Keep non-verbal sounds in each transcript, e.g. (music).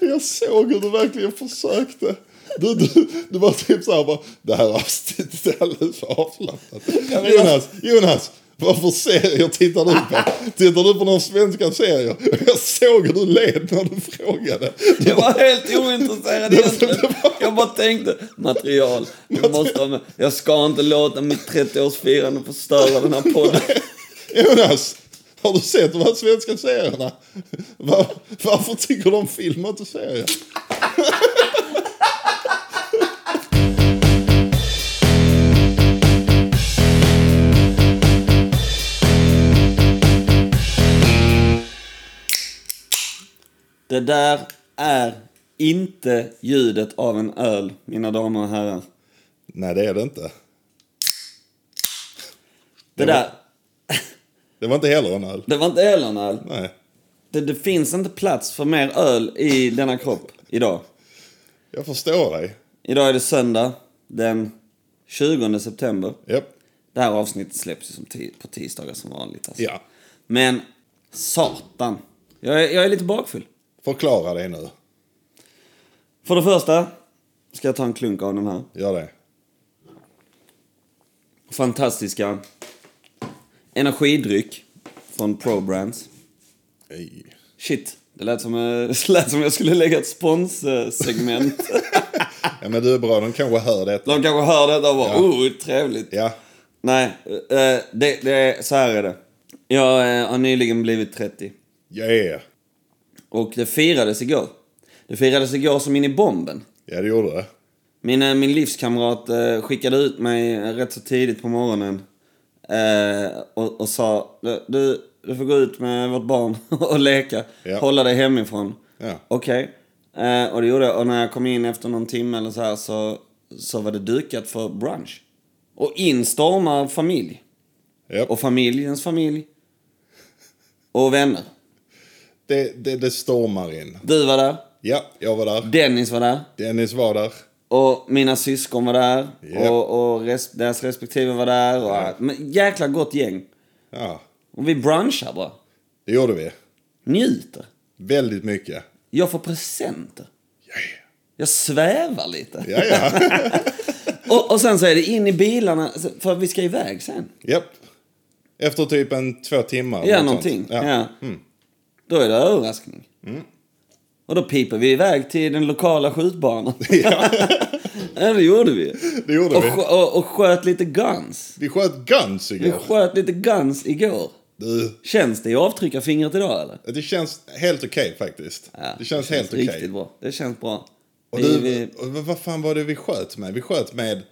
Jag såg hur du verkligen försökte. Du, du, du var typ såhär bara, det här avsnittet är alldeles för avslappnat. Jonas, Jonas, vad för serier tittar du på? Tittar du på några svenska serier? Jag såg hur du led när du frågade. Jag var helt ointresserad egentligen. Jag bara tänkte, material. Jag, måste ha med. jag ska inte låta mitt 30-årsfirande förstöra den här podden. Jonas, har du sett de här svenska serierna? Var, varför tycker de film och inte serier? Det där är inte ljudet av en öl, mina damer och herrar. Nej, det är det inte. Det där, Det var inte heller en öl. det var inte heller en öl. Nej. Det, det finns inte plats för mer öl i denna kropp idag. Jag förstår dig. Idag är det söndag den 20 september. Japp. Det här avsnittet släpps ju som ti- på tisdagar som vanligt. Alltså. Ja. Men satan. Jag är, jag är lite bakfull. Förklara det nu. För det första ska jag ta en klunk av den här Gör det. fantastiska energidryck från Pro Brands. Ej. Shit, det lät som, eh, (laughs) det lät som jag skulle lägga (laughs) ett sponssegment. Ja, men du är bra, de kanske hör det. De kanske hör detta och bara Ja. oh, trevligt. Ja. Nej, eh, det, det är, så här är det. Jag eh, har nyligen blivit 30 Yeah. och det firades igår. Det firades igår som in i bomben. Ja, det gjorde det. Min, eh, min livskamrat eh, skickade ut mig eh, rätt så tidigt på morgonen eh, och, och sa "Du- du, du får gå ut med vårt barn (laughs) och leka, Ja. hålla dig hemifrån. Ja. Okej. Eh, och det gjorde jag. Och när jag kom in efter någon timme eller så här så, så var det dukat för brunch. Och in stormar familj. Japp. Och familjens familj. Och vänner. Det, det, det stormar in. Du var där. Ja, jag var där. Dennis var där. Dennis var där. Och mina syskon var där. Japp. Och, och res- deras respektive var där. Och, Men jäkla gott gäng. Ja, Och vi brunchar bara. det gjorde vi. Njuter. Väldigt mycket. Jag får presenter. Yeah. Jag svävar lite. Ja, ja. (laughs) (laughs) Och, och sen så är det in i bilarna, för vi ska iväg sen. Japp. Efter typ en två timmar. Ja, något någonting. sånt. Ja. Ja. Mm. Då är det överraskning. Och då piper vi iväg till den lokala skjutbanan. (laughs) Ja. (laughs) ja, det gjorde vi. Det gjorde och, vi. skö- och, och sköt lite guns. Vi sköt guns Vi igår. sköt lite guns igår. Du, Känns det i avtryckarfingret idag eller? det känns helt okej faktiskt. Ja, det känns helt okej. Riktigt bra. Det känns bra. Och vi, du, vi, och vad fan var det vi sköt med? Vi sköt med... eh,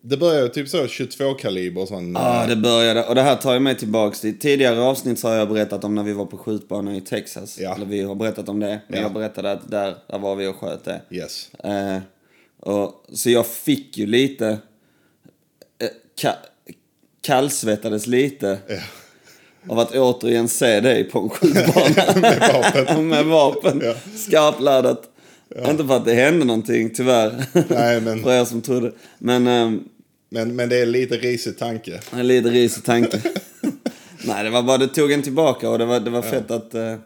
Det började typ så 22-kaliber sån... Ja, eh, det började. Och det här tar ju mig tillbaks till tidigare avsnitt så har jag berättat om när vi var på skjutbanan i Texas. Ja. Eller vi har berättat om det. Men Ja. jag berättade att där, där var vi och sköt det. Yes. (laughs) Eh, och, så jag fick ju lite... eh, ka, kallsvettades lite av att återigen se dig på (laughs) en skjutbana. med vapen. med vapen. Skarpladdat. Inte för att det hände någonting, tyvärr. Nej, men- (laughs) för er som trodde. Men... ehm, Men, men det är lite risig tanke. jag lider ris i tanken. (laughs) Nej, det var bara, det tog en tillbaka och det var, det var fett att, eh,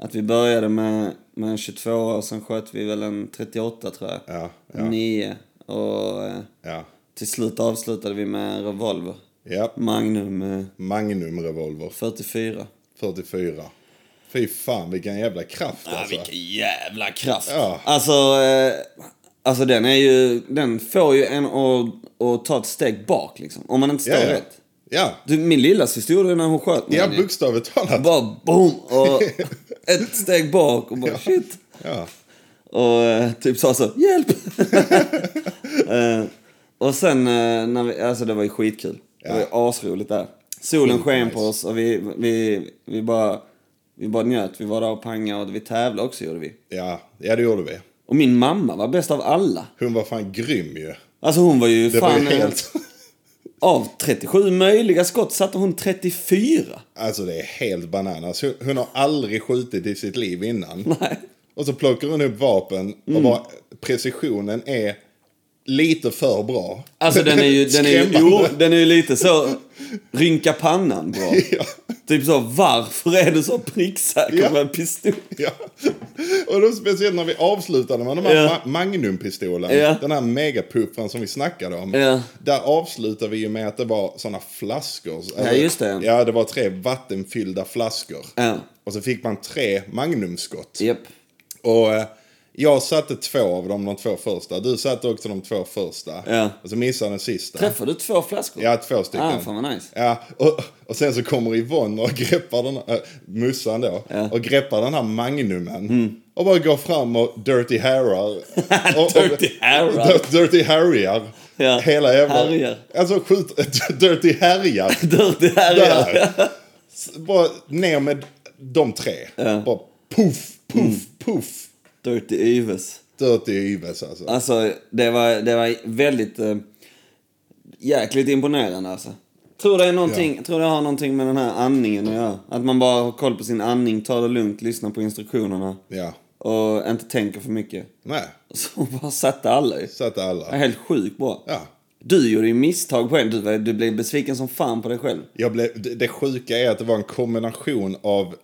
att vi började med, med en 22 och sen sköt vi väl en 38 tror jag. Ja, ja. En 9. Och eh, Ja. till slut avslutade vi med en revolver. Ja. Magnum eh, Magnum revolver 44. 44. Fy fan vilken jävla kraft Ja, alltså. Ah, vilken jävla kraft. Ja. Alltså, eh, alltså den är ju, den får ju en att, att ta ett steg bak liksom. Om man inte står ja, ja. rätt. Ja. Du, min lilla syster gjorde det när hon sköt med ja, den ju. bokstavligt talat. Bara boom! (laughs) Och ett steg bak och bara shit. Ja. Och eh, typ sa så, (laughs) hjälp! Eh, och sen, eh, när vi, alltså det var ju skitkul. Det var ju asroligt där. Solen Sjukt sken nice. på oss och vi, vi, vi, bara, vi bara njöt. Vi var där och pangade och vi tävlade också gjorde vi. ja. Ja, det gjorde vi. Och min mamma var bäst av alla. Hon var fan grym ju. Alltså hon var ju Det fan... var ju helt... eh, Av 37 möjliga skott satte hon 34. Alltså det är helt bananas. Hon, hon har aldrig skjutit i sitt liv (laughs) innan. (laughs) Nej. Mm. Och så plockar hon upp vapen och bara precisionen är lite för bra. Alltså den är ju, den är ju, Skrämmande. jo, den är ju lite så rynka pannan bra. (laughs) Ja. Typ så, varför är du så pricksäker Ja. med en pistol? Ja. Och då speciellt när vi avslutade med de här Ja. ma- Magnumppistolen. Ja. Den här megapuffran som vi snackade om. Ja. Där avslutade vi ju med att det var sådana flaskor. Alltså, Ja, just det. Ja, det var tre vattenfyllda flaskor. Ja. Och så fick man tre Magnumskott. Japp. Och eh, jag satte två av dem, de två första. Du satte också de två första. Ja. Och så missade den sista. Träffade du två flaskor? Ja, typ. två stycken. Ah, fan vad nice. Ja, och, och sen så kommer Yvonne och greppar den här, äh, mussan då, och greppar den här magnumen. Mm. Och bara går fram och dirty harrar. (laughs) Och- och- Dirty harrar. Dir- (laughs) Dirty harryar. Ja, Hela jävla... härjar. Alltså skjut... (laughs) dirty (laughs) harryar. Dirty Harry. Där. S- bara ner med de tre. Bara puff, puff, Mm. puff. Dirty Yves. Dirty Yves alltså. Alltså, det var, det var väldigt... Eh, jäkligt imponerande alltså. Tror det, är någonting, tror det har någonting med den här andningen att göra. Att man bara har koll på sin andning, tar det lugnt, lyssnar på instruktionerna. Ja. Och inte tänker för mycket. Nej, Så bara satte alla i. satte alla. Det är helt sjukt bra. Ja. Du gjorde ju misstag på en. Du, var- du blev besviken som fan på dig själv. Jag blev, det det sjuka är att det var en kombination av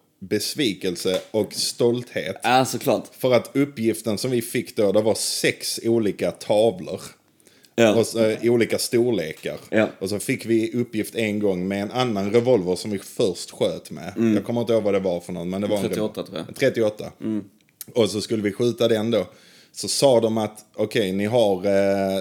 besvikelse och stolthet. Ja, såklart. För att uppgiften som vi fick då, det var sex olika tavlor. Ja. Och, så, eh, i olika storlekar. Ja. Och så fick vi uppgift en gång med en annan revolver som vi först sköt med. Jag kommer inte ihåg vad det var för någon. Men det var en 38 Mm. tror jag. Mm. 38. Och så skulle vi skjuta den då. Så sa de att okej, ni har eh,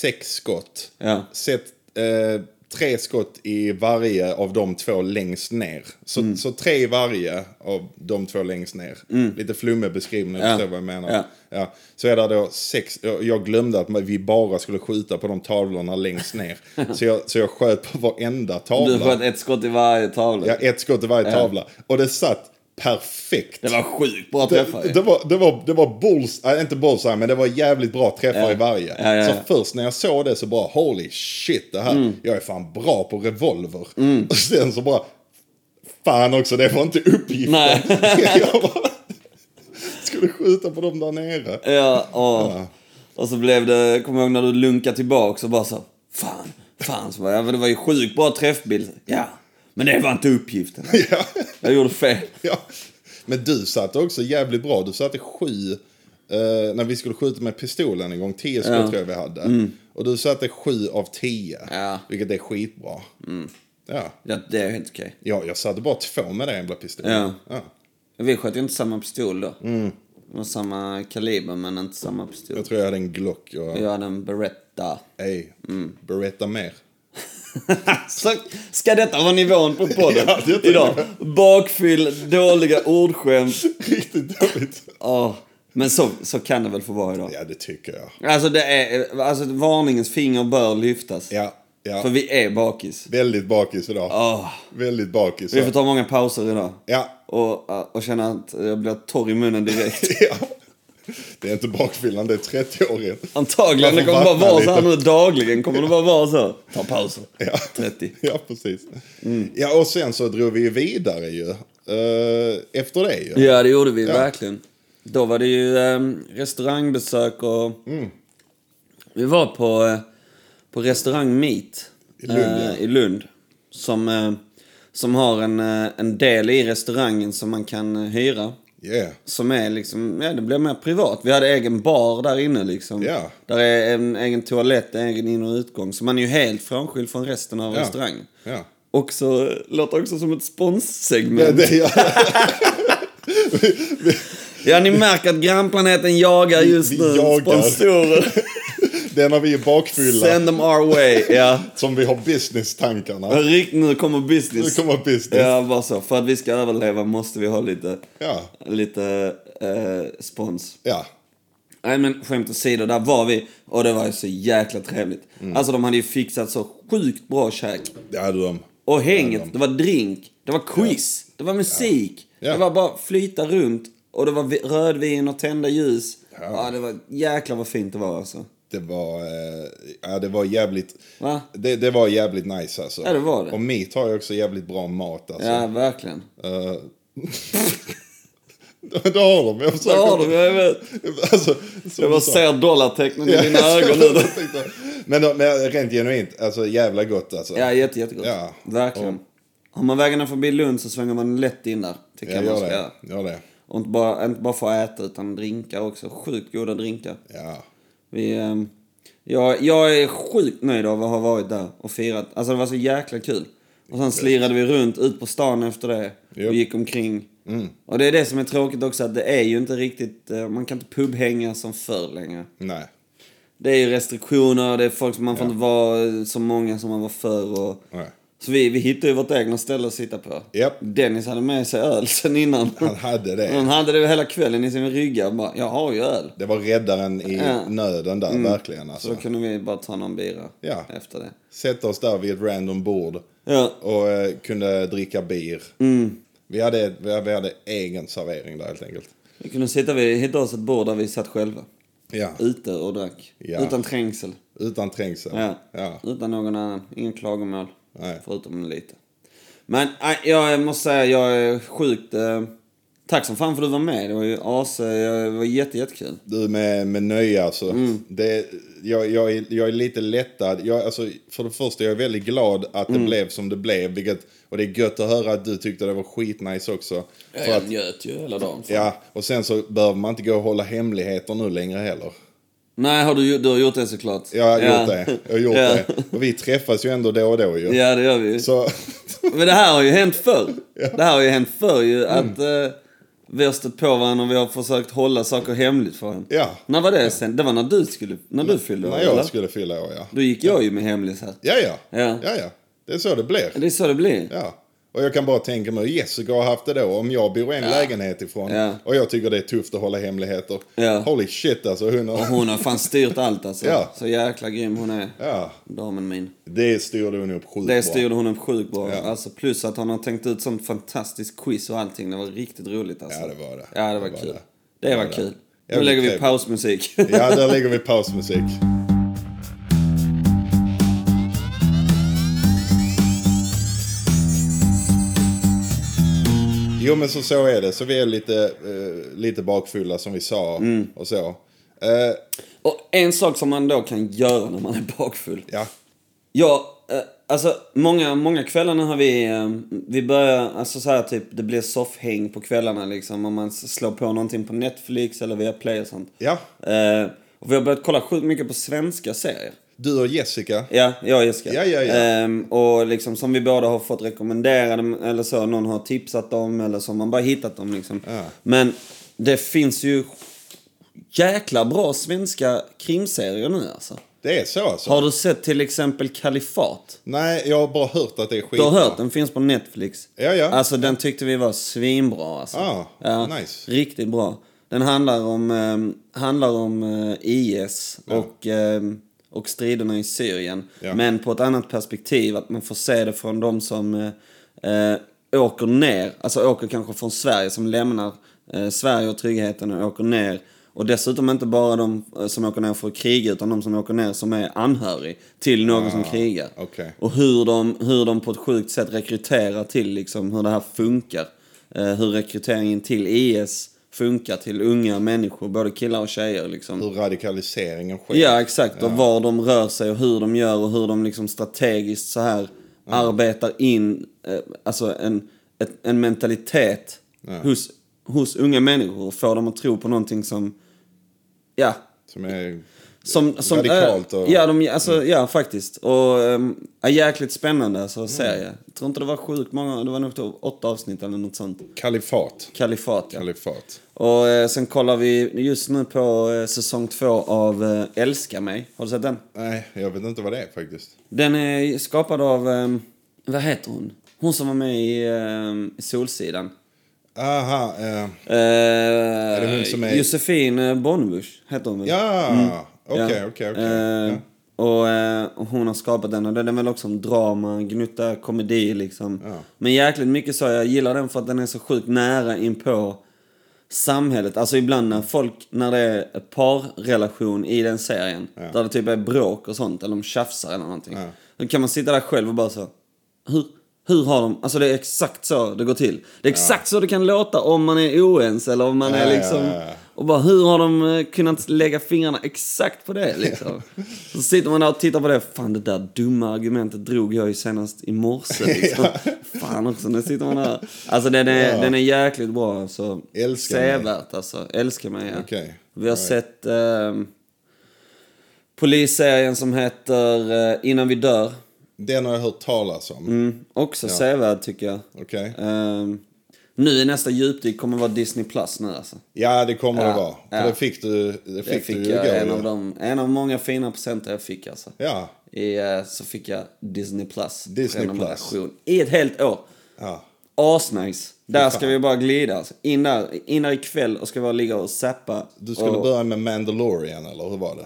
sex skott. Ja. Sätt eh, tre skott i varje av de två längst ner. Så, Mm. så tre i varje av de två längst ner. Lite flummig beskrivning, jag Ja. förstår vad jag menar. Ja. Ja, så är det då sex, jag jag glömde att vi bara skulle skjuta på de tavlorna längst (laughs) ner. så, jag, så jag sköt på varenda Du tavla. sköt ett skott i varje tavla. Ja, ett skott i varje tavla. Och det satt perfekt. Det var sjukt bra Det, träffar ju. det var, det var, det var bulls, nej, inte bullseye, men det var jävligt bra träffar i varje. Ja, ja, Mm. ja. Så först när jag såg det så bara, holy shit det här, jag är fan bra på revolver. Mm. (laughs) Och sen så bara, fan också, det var inte uppgiften. Nej. (laughs) jag bara, skulle skjuta på dem där (laughs) nere. Ja, och, och så blev det, kommer jag ihåg när du lunkade tillbaka och bara så Fan, fan. Så bara, ja, men det var ju sjukt bra träffbild. Ja, men det var inte uppgiften. Ja. Jag gjorde fel. (laughs) Ja. Men du satte också jävligt bra. Du satte sju, eh, när vi skulle skjuta med pistolen en gång, tio skott tror jag vi hade. Och du satte sju av tio, Mm. Ja. Mm. vilket är skitbra. Ja. Ja, det är helt okej. ja, jag satte bara två med den jävla pistolen. Ja. Ja. Vi sköt ju inte samma pistol då. Mm. Det var samma kaliber men inte samma pistol. Jag tror jag hade en Glock och... Jag hade en Beretta. Ey, Mm. berätta (laughs) mer. Så ska detta vara nivån på podden (laughs) Ja, detta är idag? Bakfyll, dåliga ordskämt. Riktigt dåligt. Ja, Men så, så kan det väl få vara idag. Ja, det tycker jag. Alltså, det är, alltså varningens finger bör lyftas. Ja, ja. För vi är bakis. Väldigt bakis idag. Åh, Väldigt bakis. vi får ta många pauser idag. Ja. (laughs) Och, och känna att jag blir torr i munnen direkt. ja. Det är inte bakfyllan, det är 30-åringen. Antagligen, det Man får kommer vattna bara vara så här lite. nu dagligen. Kommer det bara vara så. Ta pauser. 30. Ja, precis. Mm. Ja, och sen så drog vi ju vidare ju. Eh, efter det ju. Ja, det gjorde vi verkligen. Då var det ju ehm, restaurangbesök och... Mm. Vi var på, eh, på restaurang Meat I Lund, eh, ja. i Lund som, eh, som har en, eh, en del i restaurangen som man kan eh, hyra. Yeah. Som är liksom, ja det blev mer privat. Vi hade egen bar där inne liksom. Ja. Där är en egen toalett, egen in och utgång. Så man är ju helt frånskild från resten av Ja. restaurangen. Ja. Också, låter också som ett Ja, sponssegment. det, ja, (laughs) Ja, ni märker att grannplaneten jagar just vi nu. jagar. Sponsorer. det är när vi är bakfylla Send them our way. Ja. som vi har business-tankarna. Rikt, nu kommer Nu business. kommer business. Ja, bara så. För att vi ska överleva måste vi ha lite, Ja. lite eh, spons. Ja. Nej men skämt åsido, där var vi och det var ju så jäkla trevligt. Mm. Alltså de hade ju fixat så sjukt bra käk. Det hade de. Och hänget, det var drink, det var quiz, det var musik. Ja. Det var bara flyta runt och det var vi- rödvin och tända ljus. Ja, Ja. det var jäkla vad fint det var alltså. Det var, eh, ja, det var jävligt... Va? Det, det var jävligt nice alltså. Ja, det var det. Och Meat har ju också jävligt bra mat alltså. Ja, verkligen. Eh, (laughs) Det har de. Jag försöker... Ja, de, jag vet. Alltså, som Jag du bara sa. ser dollartecknen i dina Ja, ögon nu. jag tänkte- men, då- men rent genuint, alltså jävla gott alltså. Ja, jätte, jättegott. Ja. Verkligen. Har man vägarna förbi Lund så svänger man lätt in där. Tycker jag jag man gör ska det. göra. Gör det. Och inte bara, inte bara få äta utan drinkar också. Sjukt goda drinkar. Ja. Vi, ehm, jag, jag är sjukt nöjd av att ha varit där och firat. Alltså det var så jäkla kul. Och sen slirade vi runt ut på stan efter det. Japp. Mm. Och gick omkring. Och det är det som är tråkigt också att det är ju inte riktigt, eh, man kan inte pubhänga som förr längre. Nej. Det är ju restriktioner, det är folk som man får inte vara så många som man var förr. Och... Nej. Så vi, vi hittade ju vårt egna ställe att sitta på. Japp. Dennis hade med sig öl sen innan. Han hade det. Han hade det hela kvällen i sin rygga. Bara, jag har ju öl. Det var räddaren i Ja. Mm. nöden där, verkligen Så då alltså. kunde vi bara ta någon bira Ja. efter det. Sätta oss där vid ett random bord Ja, och eh, kunde dricka bir. Mm. Vi, hade, vi, vi hade egen servering där helt enkelt. vi kunde sitta vid, hitta oss ett bord där vi satt själva. Ja, Ute och drack. Ja. Utan trängsel. utan trängsel. Ja. Ja. Utan någon annan. Ingen klagomål. Nej. Förutom lite. Men nej, jag måste säga, jag är sjukt... Eh, tack som fan för att du var med. Det var ju as, eh, det var jätte, jättekul. Du med, med nöje alltså. Mm. Det, jag, jag, är, jag är lite lättad. Jag, alltså, för det första, jag är väldigt glad att Mm. det blev som det blev. Vilket, och det är gött att höra att du tyckte det var skitnice också. För att, njöt ju hela dagen. ja, och sen så behöver man inte gå och hålla hemligheter nu längre heller. Nej, har du, gjort- du har gjort det såklart. Jag har gjort det. Jag har gjort ja. det. Och vi träffas ju ändå då och då ju. Ja, det gör vi ju. Så, (laughs) Men det här har ju hänt förr. Det här har ju hänt förr ju Mm. att eh, vi har stött på varandra och vi har försökt hålla saker hemligt för varandra. ja. När var det sen? Det var när du skulle, när du fyllde år, När jag eller? skulle fylla år, ja. Då gick jag ju med hemlis här. Ja, ja. Ja. Ja, ja. Det är så det blir. Det är så det blir. Ja. Och jag kan bara tänka mig hur Jessica har haft det då. Om jag bor en lägenhet ifrån Ja. och jag tycker det är tufft att hålla hemligheter. Ja. Holy shit alltså. Hon Och har... hon har fan styrt allt alltså. Ja. Så jäkla grym hon är. Ja, Damen min. det styrde hon upp sjukt Det bra. styrde hon upp sjukt bra. Ja. Alltså, plus att hon har tänkt ut sånt fantastiskt quiz och allting. Det var riktigt roligt alltså. Ja, det var det. Ja, det var kul. Det, var, det. kul. Nu Jävligt lägger vi trevligt. pausmusik. Ja, där lägger vi pausmusik. Jo, men så, så är det. Så vi är lite, eh, lite bakfulla som vi sa Mm. och så. Eh, (laughs) Och en sak som man då kan göra när man är bakfull. ja, Ja, eh, alltså många, många kvällar nu har vi, eh, vi börjar, alltså så här typ, det blir soffhäng på kvällarna liksom. Om man s- slår på någonting på Netflix eller via Play och sånt. ja. Eh, och vi har börjat kolla sjukt mycket på svenska serier. Du och Jessica. Ja, jag och Jessica. Ja, ja, ja. Ehm, och liksom som vi båda har fått rekommenderade eller så, någon har tipsat om eller så, man bara hittat dem liksom. Ja. Men det finns ju jäkla bra svenska krimserier nu alltså. Det är så alltså? Har du sett till exempel Kalifat? Nej, jag har bara hört att det är skit. Du har hört, den finns på Netflix. Ja, ja. Alltså den tyckte vi var svinbra alltså. Ah, nice. Riktigt bra. Den handlar om, eh, handlar om eh, IS och, eh, och striderna i Syrien. Ja. Men på ett annat perspektiv, att man får se det från de som eh, eh, åker ner. Alltså åker kanske från Sverige, som lämnar eh, Sverige och tryggheten och åker ner. Och dessutom inte bara de eh, som åker ner för att kriga, utan de som åker ner som är anhörig till någon som krigar. Ah, okej. Och hur de, hur de på ett sjukt sätt rekryterar till liksom hur det här funkar. Eh, hur rekryteringen till IS funkar till unga människor, både killar och tjejer. Liksom. Hur radikaliseringen sker. Ja, exakt. Och var de rör sig och hur de gör och hur de liksom strategiskt så här arbetar in eh, alltså en, ett, en mentalitet hos, hos unga människor och får dem att tro på någonting som, ja, Som är... som, som Radikalt och- Mm. Ja, de, alltså, ja, faktiskt. Och um, är jäkligt spännande alltså, serie. Jag tror inte det var sjukt många, det var nog typ åtta avsnitt eller något sånt. Kalifat. Kalifat, ja. Kalifat. Och eh, sen kollar vi just nu på eh, säsong två av eh, Älska mig. Har du sett den? Nej, jag vet inte vad det är faktiskt. Den är skapad av, ehm, vad heter hon? Hon som var med i ehm, Solsidan. Aha, eh, Eh, det hon som är- Josefin eh, Bornebusch heter hon väl? ja, okej, Mm. Ja. okej, okej. Eh, Ja. Och eh, och hon har skapat den och den är väl också en drama, en gnutta komedi liksom. Ja. Men jäkligt mycket så, jag gillar den för att den är så sjukt nära in på samhället. Alltså ibland när folk, när det är en parrelation i den serien, där det typ är bråk och sånt, eller de tjafsar eller någonting. Då kan man sitta där själv och bara så, hur, Hur har de... Alltså det är exakt så det går till. Det är exakt så det kan låta om man är oense eller om man Ja, är ja, liksom... ja, ja. Och bara hur har de eh, kunnat lägga fingrarna exakt på det liksom? Så sitter man där och tittar på det. Fan det där dumma argumentet drog jag ju senast (laughs) i morse liksom. Fan också, nu sitter man där. Alltså den är, den är jäkligt bra alltså. Älskar mig. Sevärt alltså. Älskar mig ja. Okej. Vi har Right. sett ehm, polisserien som heter eh, Innan vi dör. Den har jag hört talas om. Mm, också sevärd tycker jag. Okej. Ehm, nu är nästa djupdyk kommer vara Disney Plus nu alltså. Ja, det kommer det Ja, vara. För ja. det fick du, det fick Det fick du ju jag, igår. en ju. av, de, en av många fina presenter jag fick alltså. Ja, I, eh, så fick jag Disney Plus Disney Plus. prenumeration. I ett helt år. ja. Asnice. Där ska fan. vi bara glida alltså. In där, in där ikväll och ska bara ligga och zappa. Du skulle och, Mm. börja med Mandalorian, eller hur var det?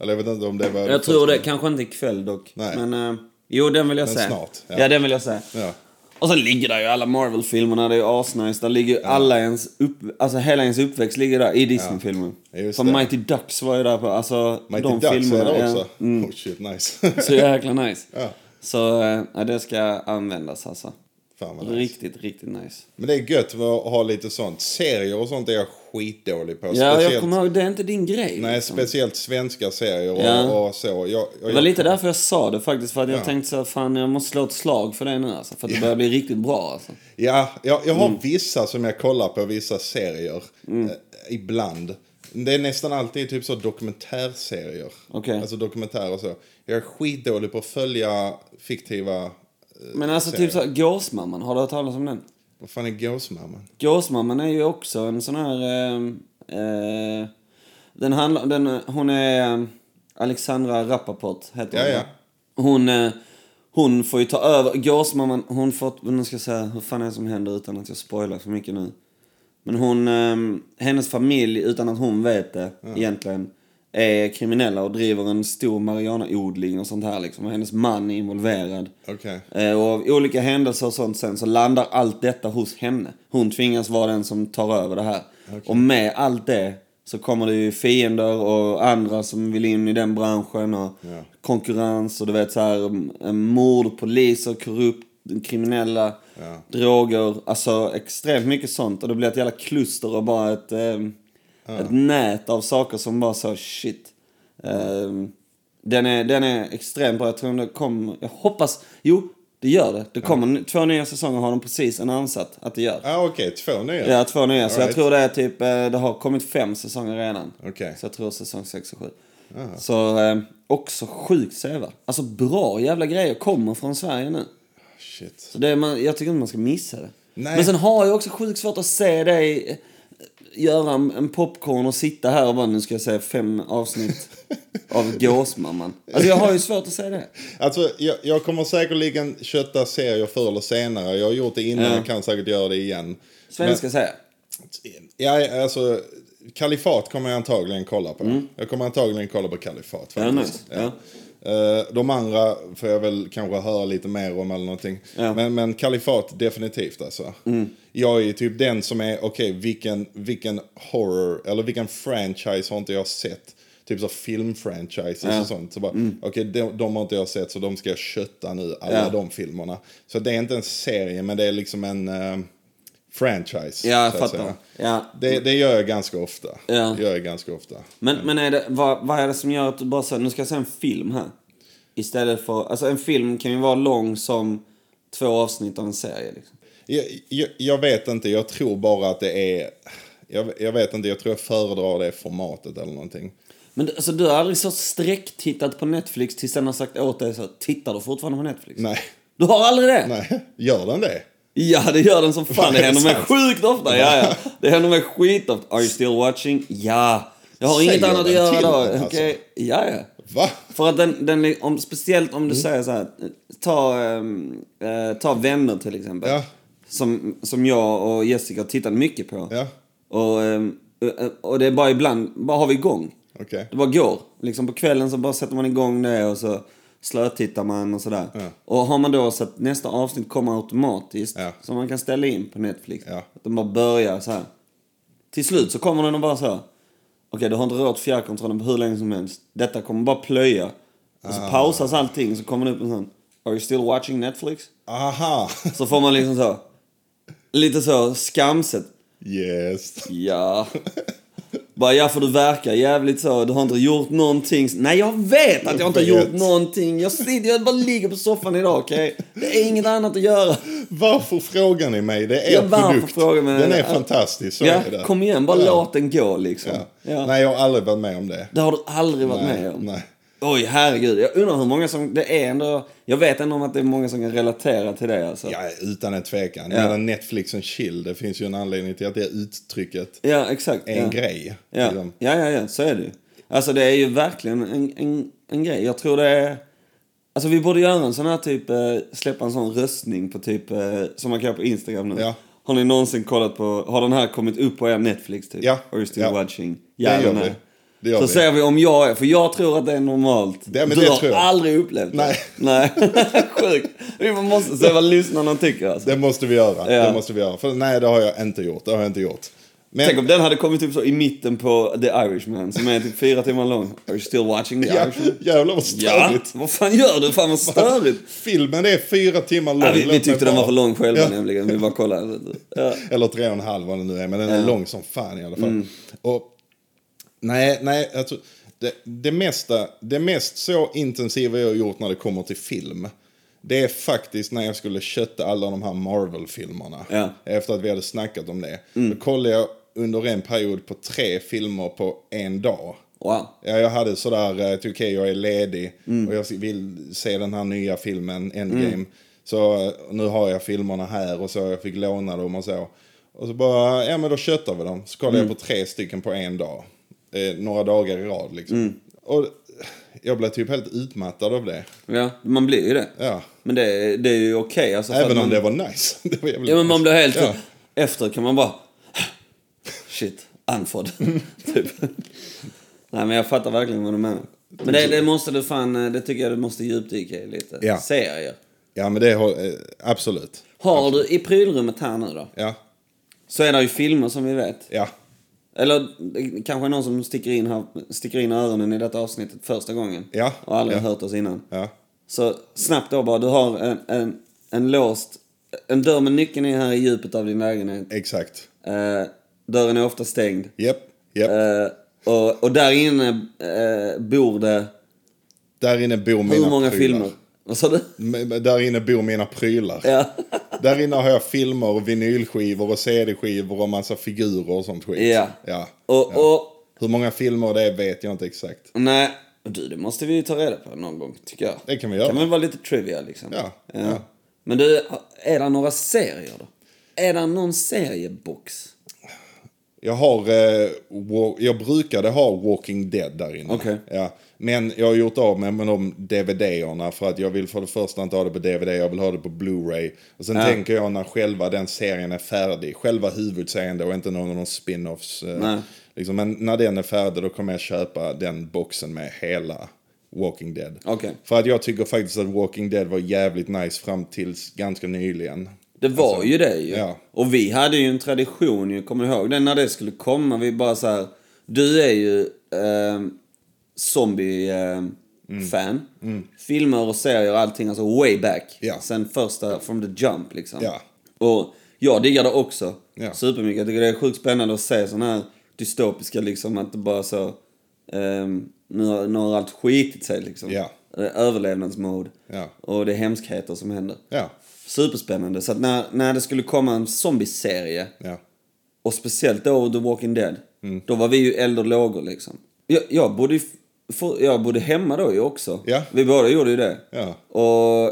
Eller jag vet inte om det var... Jag tror det. Kanske inte ikväll dock. Nej. Men eh, jo, den vill jag Men säga. snart, ja. Ja. den vill jag säga. Ja. Och sen ligger där ju alla Marvel-filmerna. Det är ju asnice. Där ligger ju alla ens upp, alltså hela ens uppväxt ligger där i Disney-filmer. Ja, just För det. Mighty Ducks var ju där på, alltså Mighty de Ducks filmerna. är det ja. Mm. också. Oh shit, nice. (laughs) Så jäkla nice. Ja. Så eh, ja, det ska användas alltså. Fan vad nice. Riktigt, riktigt nice. Men det är gött med att ha lite sånt. Serier och sånt är jag skitdålig på. Ja, jag kommer ihåg, det är inte din grej. Nej, liksom. speciellt svenska serier och, Ja. och så. Jag, jag, Det var lite därför jag sa det faktiskt. För att jag Ja. tänkte så här, fan jag måste slå ett slag för det nu alltså. För att det börjar bli riktigt bra alltså. Ja, jag, jag Mm. har vissa som jag kollar på, vissa serier. Eh, ibland. Det är nästan alltid typ så dokumentärserier. Okej. Alltså dokumentärer och så. Jag är skitdålig på att följa fiktiva... eh, Men alltså serier. typ såhär, Gåsmamman, har du hört talas om den? Vad fan är Gåsmamman? Gåsmamman är ju också en sån här... Eh, eh, den handlar... Den, hon är... eh, Alexandra Rappaport heter Ja, hon. ja. Hon, eh, hon får ju ta över... Gåsmamman, hon får... Nu ska jag säga, hur fan är det som händer utan att jag spoilar för mycket nu? Men hon... Eh, hennes familj, utan att hon vet det egentligen, är kriminella och driver en stor marijuanaodling och sånt här liksom. Och hennes man är involverad. Okej. Eh, Och av olika händelser och sånt sen så landar allt detta hos henne. Hon tvingas vara den som tar över det här. Och med allt det så kommer det ju fiender och andra som vill in i den branschen och Ja. konkurrens och du vet så här m- eh, mord, poliser, korrupt, kriminella, Ja. droger. Alltså extremt mycket sånt och det blir ett jävla kluster och bara ett, ehm, ett nät av saker som bara så shit. Ehm, den, är, den är extremt bra. Jag tror det kom, jag hoppas, jo det gör det. Det kommer n- två nya säsonger har de precis annonsat att det gör. Ja, Ah, okej. Två nya. Ja, två nya. Så jag Alright. tror det är typ, eh, det har kommit fem säsonger redan. Okej. Så jag tror säsong 6 och 7. Så eh, också sjukt sevärd. Alltså bra jävla grejer kommer från Sverige nu. Shit. Så det är man, jag tycker inte man ska missa det. Nej. Men sen har jag också sjukt svårt att se dig eh, göra en, en popcorn och sitta här och bara nu ska jag se fem (laughs) avsnitt av Gåsmamman. Alltså jag har ju svårt att se det. Alltså, jag, jag kommer säkerligen kötta serier förr eller senare. Jag har gjort det innan, Ja. jag kan säkert göra det igen. Svenska säger Men, ja, alltså, Kalifat kommer jag antagligen kolla på. Jag kommer antagligen kolla på Kalifat. Mm. Ja, faktiskt. nice. Ja. Eh, De andra får jag väl kanske höra lite mer om eller någonting. Ja. Mm. Men, men kalifat definitivt alltså. Jag är ju typ den som är, okej vilken, vilken horror, eller vilken franchise har inte jag sett? Typ så filmfranchises och sånt. Så bara, okej de, de har inte jag sett så de ska jag kötta nu, alla Mm. Ja. de filmerna. Så det är inte en serie men det är liksom en eh, franchise. Ja, jag så att fattar. säga. Ja. Det, det gör jag ganska ofta. Ja. Det gör jag ganska ofta. Men, men är det, vad, vad är det som gör att du bara säger nu ska jag se en film här? Istället för, alltså en film kan ju vara lång som två avsnitt av en serie liksom. Jag, jag, jag vet inte, jag tror bara att det är... Jag, jag vet inte, jag tror jag föredrar det formatet eller någonting. Men du- alltså, du har aldrig så sträcktittat på Netflix tills den har sagt åt dig så tittar du fortfarande på Netflix? Nej, Du har aldrig det? nej, gör den det? Ja, det gör den som fan. Det Är det händer mig sant? sjukt ofta. Ja, ja. Det händer mig skitofta. Are you still watching? Ja. Jag har Säger inget annat att den göra till då. den, alltså? Okej. Ja, ja. Va? För att den, den li- om, speciellt om du Mm. säger så här, ta, ehm, eh, ta vänner till exempel. Ja. Som, som jag och Jessica har tittat mycket på. Ja. Och, ehm, eh, och det är bara ibland, bara har vi igång. Okej. Det bara går. Liksom på kvällen så bara sätter man igång det och så slötittar man och sådär. Ja. Och har man då så att nästa avsnitt kommer automatiskt, Ja. som man kan ställa in på Netflix. Ja. Att de bara börjar så här. Till slut så kommer den och bara så här. Okej, du har inte rört Ah. fjärrkontrollen på hur länge som helst. Detta kommer bara plöja. Och så pausas allting så kommer det upp en sån. Are you still watching Netflix? Aha! Så får man liksom så, lite så skamset. Yes. Ja. Bara ja, för du verkar jävligt så. Du har inte gjort någonting. Nej, jag vet att jag inte har Jag vet. gjort någonting. Jag sitter, jag bara ligger på soffan idag, okej? Det är inget annat att göra. Varför frågar ni mig? Det är Ja, er varför produkt. frågar ni mig? Den är Ja. fantastisk, så Ja, är det. kom igen, bara Ja. låt den gå liksom. Ja. Ja. Nej, jag har aldrig varit med om det. Det har du aldrig varit med om. Nej. Oj, herregud. Jag undrar hur många som... Det är ändå... Jag vet ändå om att det är många som kan relatera till det alltså. Ja, utan en tvekan. Ja. Medan Netflix och chill, det finns ju en anledning till att det uttrycket Ja, exakt. är en ja. grej. Ja. Liksom. ja, ja, ja, så är det ju. Alltså det är ju verkligen en, en, en grej. Jag tror det är... Alltså vi borde göra en sån här typ, eh, släppa en sån röstning på typ, eh, som man kan göra på Instagram nu. Ja. Har ni någonsin kollat på, har den här kommit upp på er Netflix typ? Ja. Are you still Ja. watching? Det eller gör nej? vi. Det gör eh, så vi. ser vi om jag är, för jag tror att det är normalt. Det- men du det har tror jag. aldrig upplevt Nej. det. Nej. (laughs) Sjukt. Vi måste se vad lyssnarna tycker alltså. Det måste vi göra. Ja. Det måste vi göra. För nej, det har jag inte gjort. Det har jag inte gjort. Men, Tänk om den hade kommit upp så i mitten på The Irishman som är typ fyra timmar lång. Are you still watching The ja, Irishman? jävlar vad Ja, störigt. vad fan gör du? Fan vad störigt. Filmen är fyra timmar lång. Ja, vi, Låt vi mig tyckte den bara- var för lång själva Ja. nämligen. Vi (laughs) bara kollade. Ja. Eller tre och en halv vad det nu är. Men den är lång som fan i alla fall. Mm. Och, nej, nej. Alltså, det, det, mesta, det mest så intensiva jag har gjort när det kommer till film. Det är faktiskt när jag skulle kötta alla de här Marvel-filmerna. Ja. Mm. Efter att vi hade snackat om det. Då kollade jag under en period på tre filmer på en dag. Wow. Ja, jag hade sådär eh, att okej, jag är ledig och jag vill se den här nya filmen, Endgame. Mm. Så eh, nu har jag filmerna här och så, jag fick låna dem och så. Och så bara, ja men då köttar vi dem. Så kollade Mm. jag på tre stycken på en dag. Eh, några dagar i rad liksom. Mm. Och jag blev typ helt utmattad av det. Ja, man blir ju det. Ja. Men det, det är ju okej. alltså, för Även att om man, det var nice. (laughs) det var jävligt Ja, men man nice. blir helt... Ja. Efter kan man bara... Shit, (laughs) andfådd. typ. Nej, men jag fattar verkligen vad du menar. Men det, det måste du fan... eh, Det tycker jag du måste djupdyka i lite. Ja. Serier. ja, men det har, eh, absolut. Har du i prylrummet här nu då? Ja, Så är det ju filmer som vi vet. ja. Eller det kanske är någon som sticker in, här, sticker in öronen i detta avsnittet första gången. Ja. Och aldrig Ja. har hört oss innan. Ja. Så snabbt då bara, du har en, en, en låst... En dörr med nyckeln är här i djupet av din lägenhet. Exakt. Eh, dörren är ofta stängd. Japp, japp. Eh, och, och där inne eh, bor det Där inne bor mina hur många prylar. filmer? Vad sa du? Men Där inne bor mina prylar. Ja. Där inne har jag filmer, och vinylskivor och CD-skivor och massa figurer och sånt skit. Ja. Ja. Och, ja. och Hur många filmer det är vet jag inte exakt. Nej, du det måste vi ju ta reda på någon gång tycker jag. Det kan vi göra. kan väl vara lite trivia liksom. Ja, ja. Men du, är det några serier då? Är det någon seriebox? Jag har, eh, wa- jag brukade ha Walking Dead där inne. Okej. Ja. Men jag har gjort av mig med de DVD-erna för att jag vill för det första inte ha det på DVD, jag vill ha det på Blu-ray. Och sen Ja. tänker jag när själva den serien är färdig, själva huvudserien då, inte någon av de spin-offs. Nej. Eh, liksom, men när den är färdig då kommer jag köpa den boxen med hela Walking Dead. Okej. För att jag tycker faktiskt att Walking Dead var jävligt nice fram tills ganska nyligen. Det var ju det ju. Alltså, ja. Och vi hade ju en tradition ju, kommer du ihåg den? När det skulle komma, vi bara så här. Du är ju ehm, zombie-fan. Filmer och serier och allting, alltså way back. Mm. Ja. Sen första, from the jump liksom. Ja. Och jag diggar det också. Ja. Supermycket. Jag tycker det är sjukt spännande att se sådana här dystopiska liksom att det bara så... ehm, nu, har, nu har allt skitit sig liksom. Ja. Eh, Överlevnadsmode. Ja. Och det är hemskheter som händer. Ja, Superspännande. Så att när, när det skulle komma en zombieserie ja. och speciellt då The Walking Dead. Mm. Då var vi ju eld och lågor liksom. Jag, jag, bodde, i f- för, jag bodde hemma då ju också. Ja. Vi båda gjorde ju det. Ja. Och,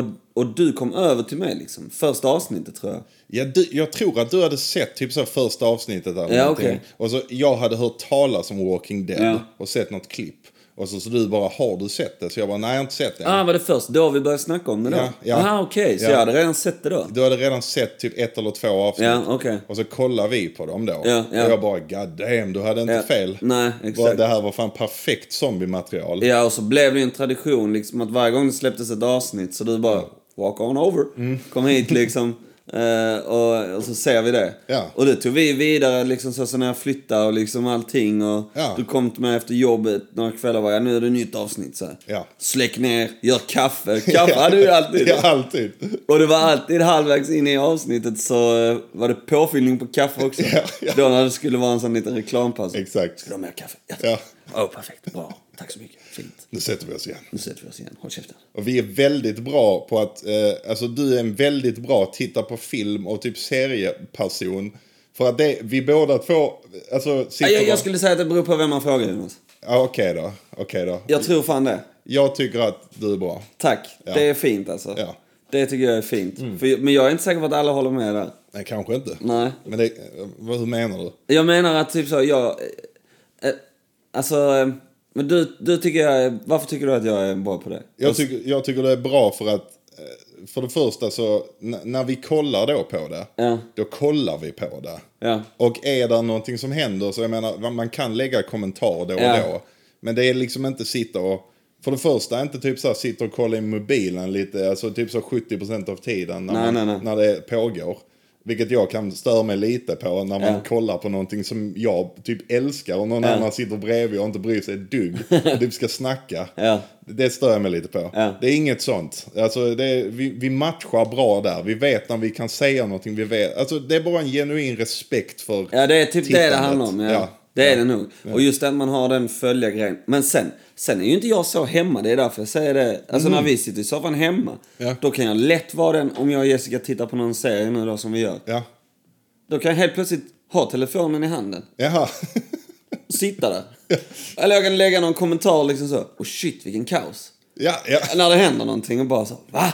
och, och du kom över till mig liksom. Första avsnittet tror jag. Ja, du, jag tror att du hade sett typ så här första avsnittet eller Ja, någonting. okej. Och så jag hade hört talas om Walking Dead Ja. och sett något klipp. Och så, så du bara, har du sett det? Så jag bara, nej jag har inte sett det. Ah, var det först då vi började snacka om det då? Ja, ja. Ah, okej. Så Ja. jag hade redan sett det då? Du hade redan sett typ ett eller två avsnitt. Ja, okej. Och så kollar vi på dem då. Ja, ja. Och jag bara, god damn, du hade inte Ja. fel. Nej, Bara, exakt. det här var fan perfekt zombie-material. Ja, och så blev det ju en Mm. (laughs) tradition liksom att varje gång det släpptes ett avsnitt så du bara walk on over. Kom hit liksom. Eh, och, och så ser vi det. Ja. Och det tog vi vidare liksom så, så när jag flyttade och liksom allting. Och Ja. Du kom till mig efter jobbet några kvällar var jag nu är det nytt avsnitt. Så här. Ja. Släck ner, gör (laughs) kaffe. Kaffe hade du ju alltid. Ja, alltid. Och det var alltid halvvägs in i avsnittet så eh, var det påfyllning på kaffe också. (laughs) Ja, ja. Då när det skulle vara en sån liten reklampaus. Exakt. Ska du ha mer kaffe? Ja. Ja. Åh, perfekt. Bra. Tack så mycket. Fint. Nu sätter vi oss igen. Nu sätter vi oss igen. Håll käften. Och vi är väldigt bra på att, eh, alltså du är en väldigt bra titta på film och typ serieperson. För att det, vi båda två, alltså sitter... Nej, Jag, bara- jag skulle säga att det beror på vem man frågar Jonas. Ja, Okej då, okej då. Jag tror fan det. Jag tycker att du är bra. Tack. Ja. Det är fint alltså. Ja. Mm. Det tycker jag är fint. För, men jag är inte säker på att alla håller med där. Nej, kanske inte. Nej. Men det, eh, vad, hur menar du? Jag menar att typ så, jag... Eh, eh, alltså, eh, men du, du tycker jag är, Varför tycker du att jag är bra på det? Jag tycker, jag tycker det är bra för att, eh, för det första så, n- när vi kollar då på det, Ja. då kollar vi på det. Ja. Och är det någonting som händer så jag menar, man- man kan lägga kommentarer då och Ja. då. Men det är liksom inte sitta och, för det första inte typ så här sitta och kolla i mobilen lite, alltså typ så 70% av tiden när, Nej, man, nej, nej. när det pågår. Vilket jag kan störa mig lite på när man Ja. kollar på någonting som jag typ älskar och någon Ja. annan sitter bredvid och inte bryr sig ett (laughs) dugg och typ ska snacka. Ja. Det stör jag mig lite på. Ja. Det är inget sånt. Alltså, det är, vi, vi matchar bra där. Vi vet när vi kan säga någonting. Vi vet. Alltså, det är bara en genuin respekt för Ja, det är typ det det tittandet. handlar om. Ja. Ja. Det är det nog. Och just att man har den följargrejen. Men sen, sen är ju inte jag så hemma. Det är därför jag säger det. Alltså när vi sitter i soffan hemma. Mm. Ja. Då kan jag lätt vara den, om jag och Jessica tittar på någon serie nu då som vi gör. Ja. Då kan jag helt plötsligt ha telefonen i handen. Jaha. (laughs) Och sitta där. Eller jag kan lägga någon kommentar liksom så. Och shit vilken kaos. ja, ja. När det händer någonting och bara så, va?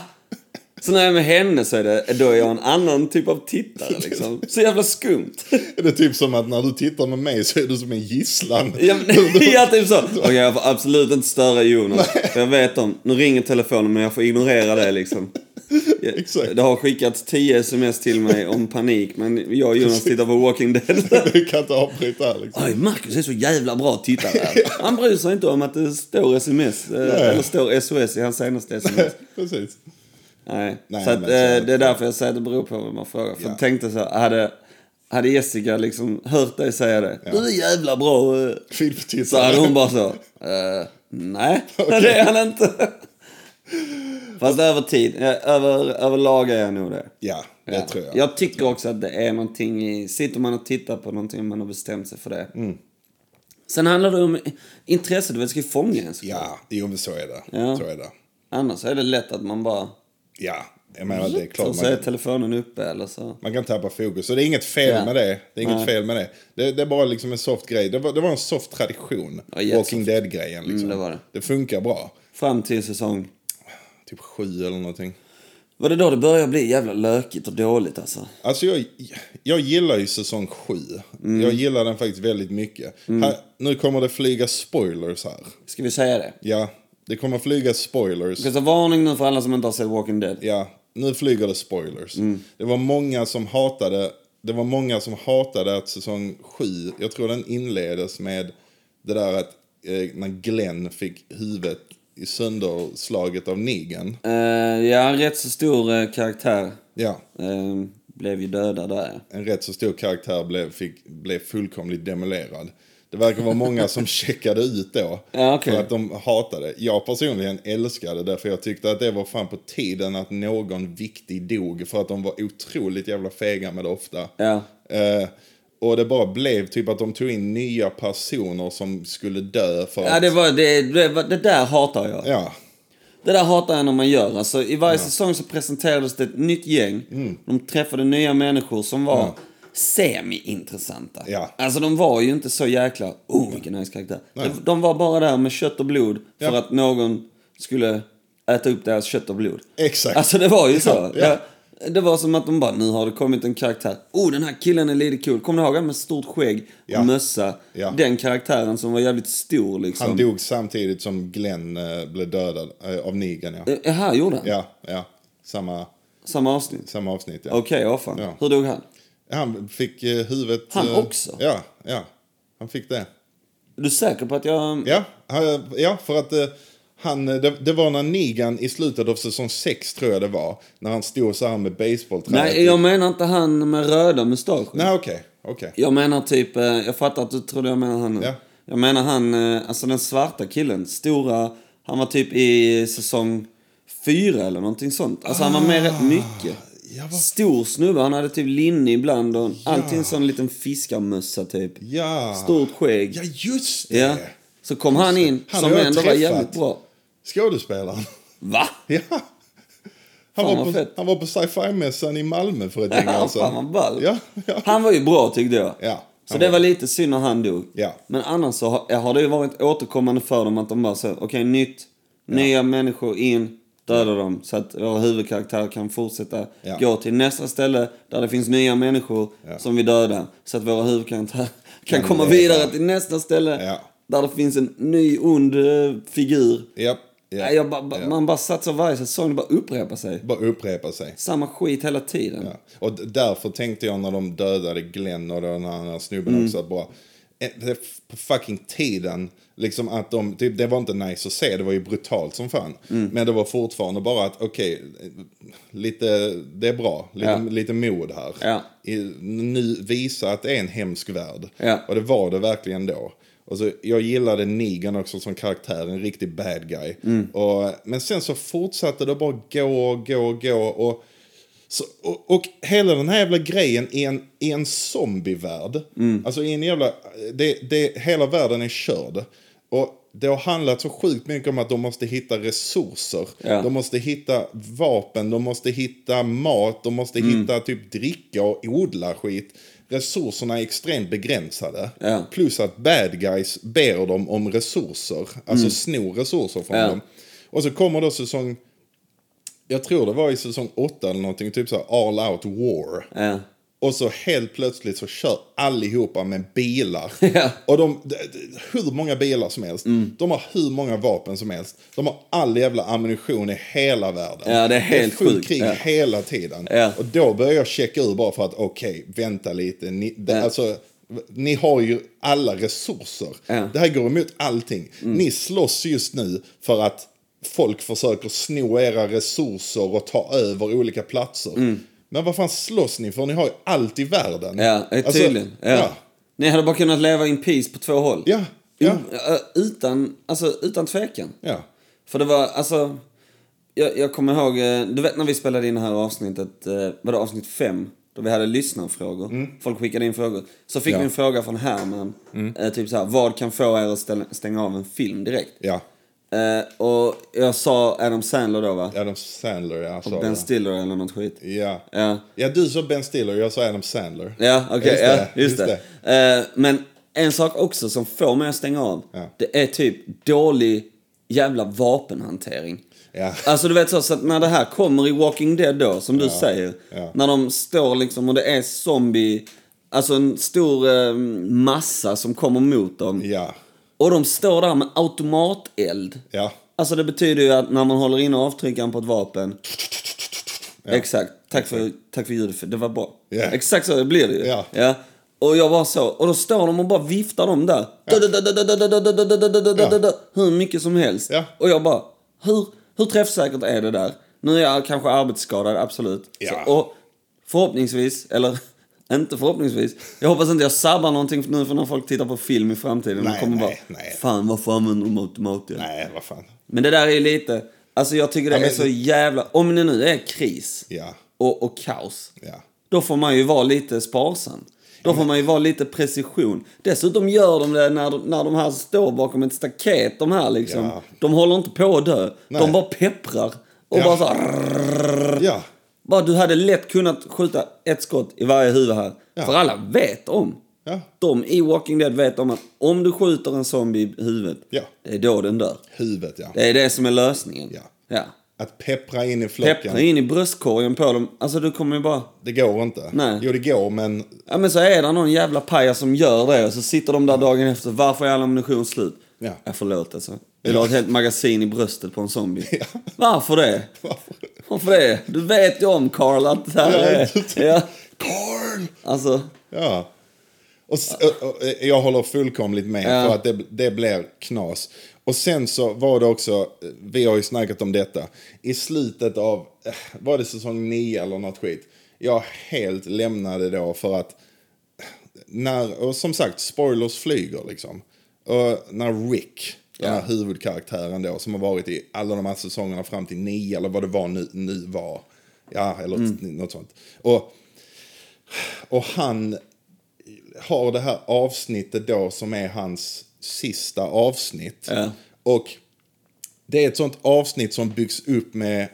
Så när jag är med henne så är det, då är jag en annan typ av tittare liksom. Så jävla skumt. Det är typ som att när du tittar med mig så är du som en gisslan. Ja, (laughs) men, ja typ så. Okej, (laughs) jag får absolut inte störa Jonas. För jag vet om, nu ringer telefonen men jag får ignorera det liksom. Jag, Exakt. Det har skickats 10 sms till mig om panik men jag och Jonas tittar på Walking Dead. Du kan inte avbryta här liksom. Oj, Marcus är så jävla bra tittare. (laughs) här. Han bryr sig inte om att det står sms, eh, eller står SOS i hans senaste sms. (laughs) Precis. Nej. Nej, så att, eh, men så att- det är därför jag säger att det beror på vem man frågar. För jag tänkte så, här, hade, hade Jessica liksom hört dig säga det, du är jävla bra eh, Så Filmtittare. hade hon bara så, eh, nej, (laughs) det är han inte. Fast över tid, eh, över, överlag är jag nog det. Ja, det Ja. tror jag. Jag tycker också att det är någonting i, sitter man och tittar på någonting och man har bestämt sig för det. Mm. Sen handlar det om intresset, du vet, ska ju fånga en. såklart. Ja, jo men så är det. Ja. Så är det. Annars är det lätt att man bara, Ja, jag menar det är så, klart så man är telefonen uppe eller så. Man kan tappa fokus. Och det är inget fel Ja. med det. Det är inget Nej. fel med det. det. Det är bara liksom en soft grej. Det var, det var en soft tradition. Ja, jättesoft. Walking Dead-grejen liksom. Mm, det var det. funkar bra. Fram till säsong. Typ sju eller någonting. Var det då det började bli jävla lökigt och dåligt alltså? Alltså jag, jag gillar ju säsong sju. Mm. Jag gillar den faktiskt väldigt mycket. Här, nu kommer det flyga spoilers här. Ska vi säga det? Ja, det kommer flyga spoilers. Ska jag ta varning nu för alla som inte har sett Walking Dead? Ja, nu flyger det spoilers. Mm. Det var många som hatade det var många som hatade att säsong 7, jag tror den inleddes med det där att eh, när Glenn fick huvudet i sönderslaget av Negan. Eh, ja, rätt så stor eh, karaktär. Ja, Eh, blev ju dödad där. en rätt så stor karaktär blev, fick, blev fullkomligt demolerad. Det verkar vara många (laughs) som checkade ut då. Ja, okej. För att de hatade. Jag personligen älskade det för jag tyckte att det var fan på tiden att någon viktig dog. För att de var otroligt jävla fega med det ofta. Ja. Eh, och det bara blev typ att de tog in nya personer som skulle dö för Ja, att... det, var, det, det, var, det där hatar jag. Ja, Det där hatar jag när man gör. Alltså, I varje säsong så presenterades det ett nytt gäng. Mm. De träffade nya människor som var semi-intressanta. Ja. Alltså de var ju inte så jäkla... Oh, vilken nice karaktär. De, de var bara där med kött och blod för Ja. att någon skulle äta upp deras kött och blod. Exakt. Alltså det var ju så. (laughs) Ja, ja. Ja, Det var som att de bara, nu har det kommit en karaktär. Oh, den här killen är lite cool. Kommer ni ihåg han med stort skägg och Ja. mössa? Ja. Den karaktären som var jävligt stor liksom. han dog samtidigt som Glenn eh, blev dödad eh, av Negan. Ja, Eh, Här gjorde han? ja, ja. Samma, Samma avsnitt? samma avsnitt. Ja. Okej, ja fan. Ja. Hur dog han? Han fick eh, huvudet... Han eh, också? Ja, ja. Han fick det. Är du säker på att jag... Ja, han, ja för att eh, Han, eh, det, det var när Nigan i slutet av säsong 6 tror jag det var. När han stod så här med basebollträet. Nej, jag menar inte han med röda mustascher. Nej, okej. okej. Jag menar typ, eh, jag fattar att du trodde jag menar han nu. Ja. Jag menar han, eh, alltså den svarta killen, stora, han var typ i säsong fyra eller någonting sånt. Alltså han var med Ah, rätt mycket. ja, vad- Stor snubbe, han hade typ linne ibland och alltid en sån liten fiskarmössa typ. Ja. Stort skägg. Ja, just det. Ja. Så kom han in, Han som har jag ändå var träffat. jävligt bra. Skådespelaren. (laughs) Va? Ja. Han, Fan, var vad på, fett. han var på sci-fi-mässan i Malmö för ett gäng år Ja, fan sedan. vad ball. Ja, ja. Han var ju bra tyckte jag. Ja, så han det var- var lite synd när han dog. Ja. Men annars så har, har det ju varit återkommande för dem att de bara säger okej nytt, nya människor in, döda dem. Så att vår huvudkaraktär kan fortsätta Ja. gå till nästa ställe där det finns nya människor Ja. som vi dödar. Så att våra huvudkaraktär kan Kan komma leva. vidare till nästa ställe Ja. där det finns en ny ond eh, figur. Japp, japp, Nej, jag bara- bara- japp. Man bara satsar varje säsong, det bara upprepar sig. Bara upprepa sig. Samma skit hela tiden. Ja. Och d- därför tänkte jag när de dödade Glenn och den här andra snubben Mm. också att bara... eh, det är f- På fucking tiden, liksom att de, typ, det var inte nice att se, det var ju brutalt som fan. Mm. Men det var fortfarande bara att, okej, eh, lite, det är bra, lite, Ja. lite mod här. Ja. I, nu visa att det är en hemsk värld. Ja. Och det var det verkligen då. Och så, jag gillade Negan också som karaktär, en riktig bad guy. Mm. Och, men sen så fortsatte det bara gå och gå och gå. Och, så, och, och hela den här jävla grejen i en, i en zombievärld. Mm. Alltså i en jävla... Det, det, hela världen är körd. Och det har handlat så sjukt mycket om att de måste hitta resurser. Ja. De måste hitta vapen, de måste hitta mat, de måste Mm. hitta typ dricka och odla skit. Resurserna är extremt begränsade. Ja. Plus att bad guys ber dem om resurser. Alltså snor resurser från Mm. Ja. dem. Och så kommer då säsong jag tror det var i säsong 8 eller någonting, typ så här all out war. Ja. Och så helt plötsligt så kör allihopa med bilar. (laughs) Ja. Mm. Och de, d- d- hur många bilar som helst. De har hur många vapen som helst. De har all jävla ammunition i hela världen. Ja, det är helt fullt sjukt. krig Ja. hela tiden. Ja. Och då börjar jag checka ur bara för att okej, vänta lite. Ni, det, Ja. alltså, ni har ju alla resurser. Ja. Mm. Det här går emot allting. Ni slåss just nu för att folk försöker sno era resurser och ta över olika platser. Men vad fan slåss ni för? Ni har ju allt i världen. Mm. Ja, eh, Alltså, tydligen. ja. ja. Ni hade bara kunnat leva in peace på två håll. Ja, ja. U- eh, utan, alltså, utan tvekan. Ja. För det var, alltså... Jag, jag kommer ihåg, eh, du vet när vi spelade in det här avsnittet, eh, var det avsnitt fem? Då vi hade lyssnarfrågor. Folk skickade in frågor. Så Mm. fick Ja. Mm. vi en fråga från Herman. eh, Typ så här, vad kan få er att ställa, stänga av en film direkt? ja. Eh, och jag sa Adam Sandler då va? Adam Sandler, ja. sa ben jag. Stiller eller något skit. ja. Ja. ja, du sa Ben Stiller, jag sa Adam Sandler. Ja, okej. Just ja, det, just just det. Eh, men en sak också som får mig att stänga av. Ja. Det är typ dålig jävla vapenhantering. Ja. Alltså du vet så, så att när det här kommer i Walking Dead då, som du säger. Ja. När de står liksom och det är zombie... Alltså en stor eh, massa som kommer mot dem. Ja, Och de står där med automateld. ja. Alltså det betyder ju att när man håller in avtryckaren på ett vapen. Exakt. Tack för, tack för ljudet, för det var bra. Ja. Exakt så det blir det ju. Ja. Och jag var så, och då står de och bara viftar dem där. Hur mycket som helst. Ja. Och jag bara, hur, hur träffsäkert är det där? Nu är jag kanske arbetsskadad, absolut. Ja. Så, och förhoppningsvis, eller inte förhoppningsvis. Jag hoppas inte jag sabbar någonting nu för när folk tittar på film i framtiden. Nej, och kommer nej, bara, nej. fan varför använder de automateld? Nej, vad fan. Men det där är ju lite... Alltså jag tycker det Ja, men- är så jävla... Om det nu är kris Ja, och, och kaos, ja. då får man ju vara lite sparsam. Då får man ju vara lite precision. Dessutom gör de det när de, när de här står bakom ett staket, de här liksom. Ja. De håller inte på att dö. Nej. De bara pepprar. Och Ja. bara så här, Ja, bara, Du hade lätt kunnat skjuta ett skott i varje huvud här. Ja. För alla vet om. Ja. De i Walking Dead vet om att om du skjuter en zombie i huvudet, Ja. det är då den dör. huvudet ja. Det är det som är lösningen. Ja. ja. Att peppra in i flocken, Peppra in i bröstkorgen på dem. Alltså du kommer ju bara... det går inte. Nej. Jo, det går, (laughs) men (laughs) Ja men så är det någon jävla pajas som gör det och så sitter de där dagen efter. Varför är all ammunition slut? Ja. ja förlåt alltså. Jag la ett helt magasin i bröstet på en zombie. Varför det? Varför? Varför det? Du vet ju om Carl att det här Ja, är... typ. Ja, Carl! alltså. Ja. Och, s- och, och, eh, jag håller fullkomligt med för att det, det blir knas. Och sen så var det också, eh, vi har ju snackat om detta, i slutet av, eh, var det säsong 9 eller något skit? Jag helt lämnade då för att, när, och som sagt, spoilers flyger liksom. Och när Rick, den här huvudkaraktären då, som har varit i alla de här säsongerna fram till 9 eller vad det var nu, nu var. Ja, eller något sånt. Och, och han har det här avsnittet då som är hans sista avsnitt. Och det är ett sånt avsnitt som byggs upp med...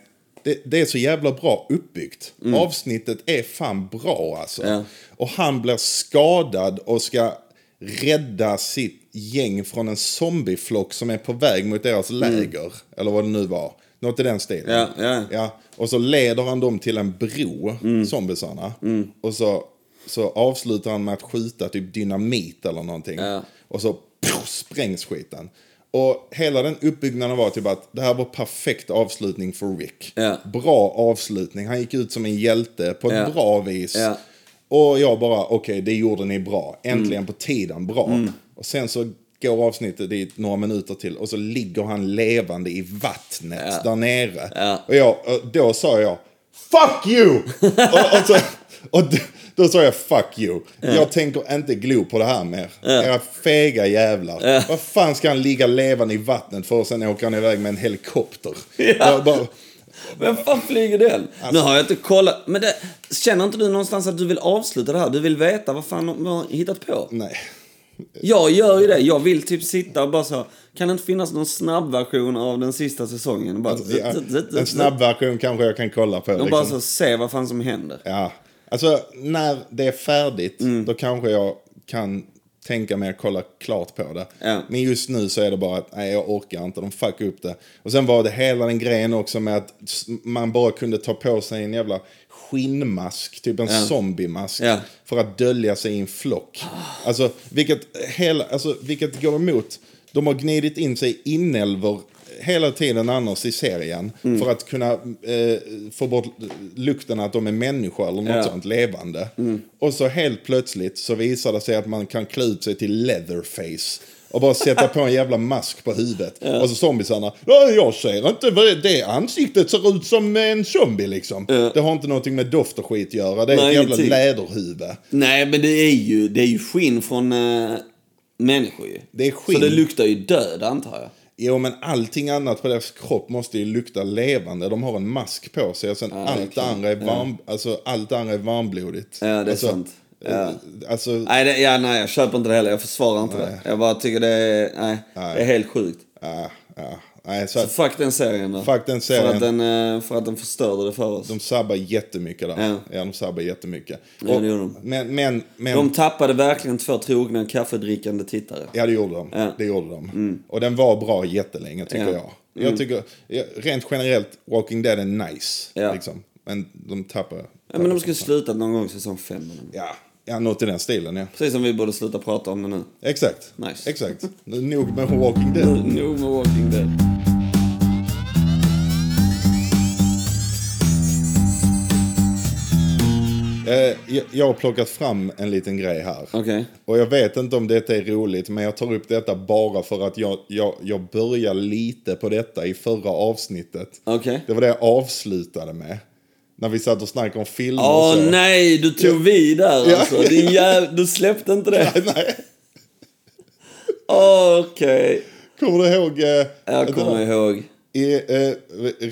Det, det är så jävla bra uppbyggt. Avsnittet är fan bra alltså. Mm. Ja. Och han blir skadad och ska rädda sitt gäng från en zombieflock som är på väg mot deras läger. Eller vad det nu var. Något i den stilen. Mm. Ja, ja. Ja, och så leder han dem till en bro, Mm. zombisarna. Och så, så avslutar han med att skjuta typ dynamit eller någonting. Ja. Och så pff, sprängs skiten. Och hela den uppbyggnaden var typ att det här var perfekt avslutning för Rick. Ja. Bra avslutning. Han gick ut som en hjälte på ett Ja. bra vis. Ja. Och jag bara, okej, det gjorde ni bra. Äntligen Mm. på tiden, bra. Och sen så går avsnittet dit några minuter till och så ligger han levande i vattnet där nere. Och jag, och då sa jag, fuck (laughs) you! och, och, så, och då, då sa jag, fuck you. Jag tänker inte glo på det här mer. Era fega jävlar. Vad fan ska han ligga levande i vattnet för och sen åker han iväg med en helikopter? Bara- bara- Vem fan flyger den? Alltså. Nu har jag inte kollat. Men det, känner inte du någonstans att du vill avsluta det här? Du vill veta vad fan de har hittat på? nej. Jag gör ju det. Jag vill typ sitta och bara så. Kan det inte finnas någon snabbversion av den sista säsongen? Bara, Alltså, (laughs) Ja, en snabb version kanske jag kan kolla på. De liksom. bara så, se vad fan som händer. Ja, alltså när det är färdigt Mm. då kanske jag kan tänka mig att kolla klart på det. Ja. Men just nu så är det bara att nej, jag orkar inte, de fuckar upp det. Och sen var det hela den grejen också med att s- man bara kunde ta på sig en jävla skinnmask, typ en zombiemask, Ja. för att dölja sig i en flock. Alltså vilket, hela, alltså, vilket går emot, de har gnidit in sig i inälvor hela tiden annars i serien Mm. för att kunna eh, få bort lukten att de är människor eller något Ja. Mm. sånt levande. Och så helt plötsligt så visar det sig att man kan klä ut sig till leatherface. Och bara sätta på en jävla mask på huvudet. Och så zombiesarna. "Ja, Jag ser inte vad det- det ansiktet ser ut som en zombie liksom. Det har inte någonting med doft och skit att göra. Det är Nej, typ. ett jävla ingenting. läderhuvud. Nej, men det är ju, det är ju skinn från eh, människor ju. Det är skinn. Så det luktar ju död antar jag. Jo, men allting annat på deras kropp måste ju lukta levande. De har en mask på sig och sen det är allt, det klart. andra är varm, alltså, allt det andra är varmblodigt. Ja, det är alltså, sant. Ja. eh, Alltså, Nej, det, ja, nej, jag köper inte det heller. Jag försvarar inte det. Jag bara tycker det är, nej, det är helt sjukt. ja, ja. Nej, så att Fuck den serien då. Fuck den serien. För att den, eh, för att den förstörde det för oss. de sabbar jättemycket där. Ja, Ja. de sabbar jättemycket. Ja, det gör de. Men, men, men. De tappade verkligen två trogna kaffedrickande tittare. Ja, det gjorde de. Ja. Mm. Det gjorde de. Och den var bra jättelänge, tycker Ja. Mm. jag. Jag tycker, ja, rent generellt, Walking Dead är nice. Ja. Liksom. Men de tappar... Ja, men de skulle sluta någon gång säsong fem. eller något. Ja, ja, något i den stilen, ja. Precis som vi borde sluta prata om det nu. Exakt. Nice. Exakt. Nog med Walking Dead. Nog med Walking Dead. Eh, jag- jag har plockat fram en liten grej här. Okej. Och jag vet inte om detta är roligt, men jag tar upp detta bara för att jag, jag, jag börjar lite på detta i förra avsnittet. Okej. Det var det jag avslutade med. När vi satt och snackade om filmer Åh och så. nej, du tog vid där alltså. Din jäv... Du släppte (laughs) inte det. (laughs) nej. Okej. Kommer du ihåg? Eh, Jag kommer ihåg. i, eh,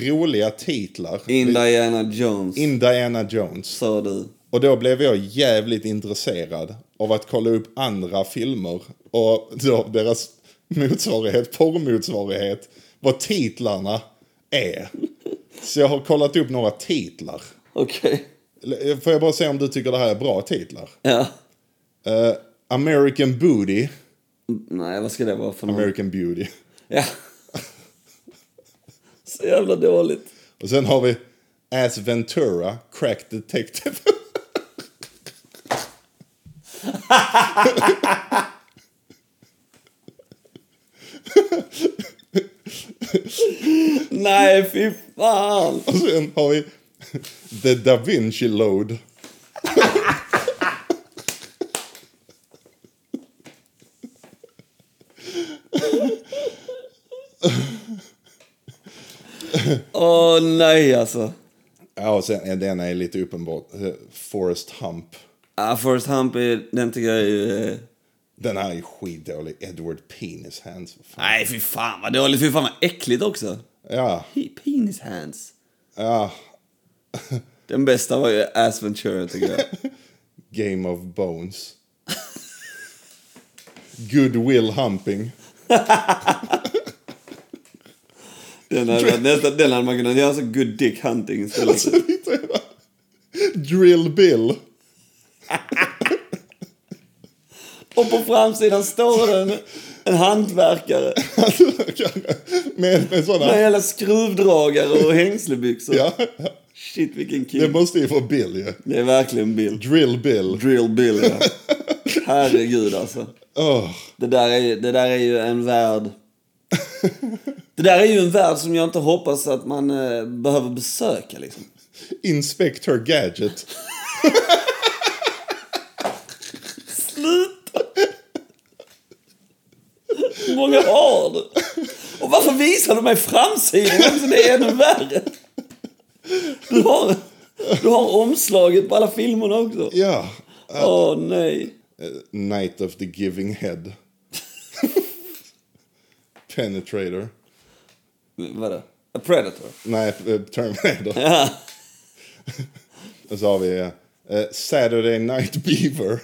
roliga titlar. Indiana Jones. Indiana Jones. Sa du. Och då blev jag jävligt intresserad av att kolla upp andra filmer. Och då deras motsvarighet, porrmotsvarighet, vad titlarna är. Så jag har kollat upp några titlar. Okej. L- Får jag bara se om du tycker det här är bra titlar? Ja. Eh, American Booty. Nej, vad ska det vara för något? American Beauty. Ja. Så jävla dåligt. Och sen har vi As Ventura, Crack Detective. (laughs) Nej, fy fan. Och sen har vi The Da Vinci Load. Åh nej alltså. Ja, och sen den är lite uppenbart. eh, Forrest Hump. Ah, Forrest Hump, är, den tycker jag är ju... eh, Den här är skitdålig. Edward Penis Hands. för fan. Nej, fy fan vad dåligt. Fy fan vad äckligt också. Ja, Pe- Penis hands. ja. (laughs) Den bästa var ju Ass Ventura tycker jag. Game of Bones. Goodwill Humping. (laughs) Den hade, (laughs) varit nästa, den hade man kunnat göra så good dick hunting istället. Drill Bill. (laughs) (laughs) Och på framsidan står det en, en hantverkare med, med sådana. med hela skruvdragare och (laughs) hängslebyxor. Ja, Shit vilken det kille. måste ju vara Bill ju. Det är verkligen Bill. Drill Bill. Drill Bill ja. (laughs) Herregud alltså. Åh, Det där, är, ju- det där är ju en värld. Det där är ju en värld som jag inte hoppas att man eh, behöver besöka liksom. Inspector Gadget. Sluta! Hur många har du? Och varför visar du mig framsidan också? Det är ännu värre. Du har, du har omslaget på alla filmerna också. Ja. Åh nej. Eh, Night of the Giving Head. (laughs) Penetrator. Vadå? A predator? Nej, eh, Terminator. (laughs) Ja. Och så har vi eh, Saturday Night Beaver.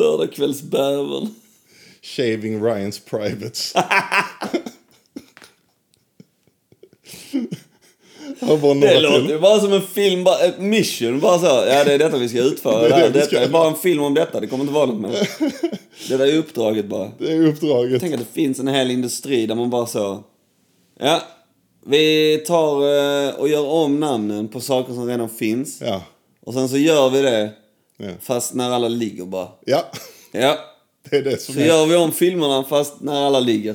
Lördagkvällsbävern. Shaving Ryan's (laughs) Privates. Har bara några Det till. låter ju bara som en film, bara ett mission. Bara så. Ja, det är detta vi ska utföra. Det Det är det vi ska detta är göra. bara en film om detta. Det kommer inte vara (laughs) något mer. Detta är uppdraget bara. Det är uppdraget. Tänk att det finns en hel industri där man bara så... Ja, vi tar eh, och gör om namnen på saker som redan finns. Ja. Och sen så gör vi det, Ja. fast när alla ligger bara. ja, Ja, det är det som så är. gör vi om filmerna fast när alla ligger.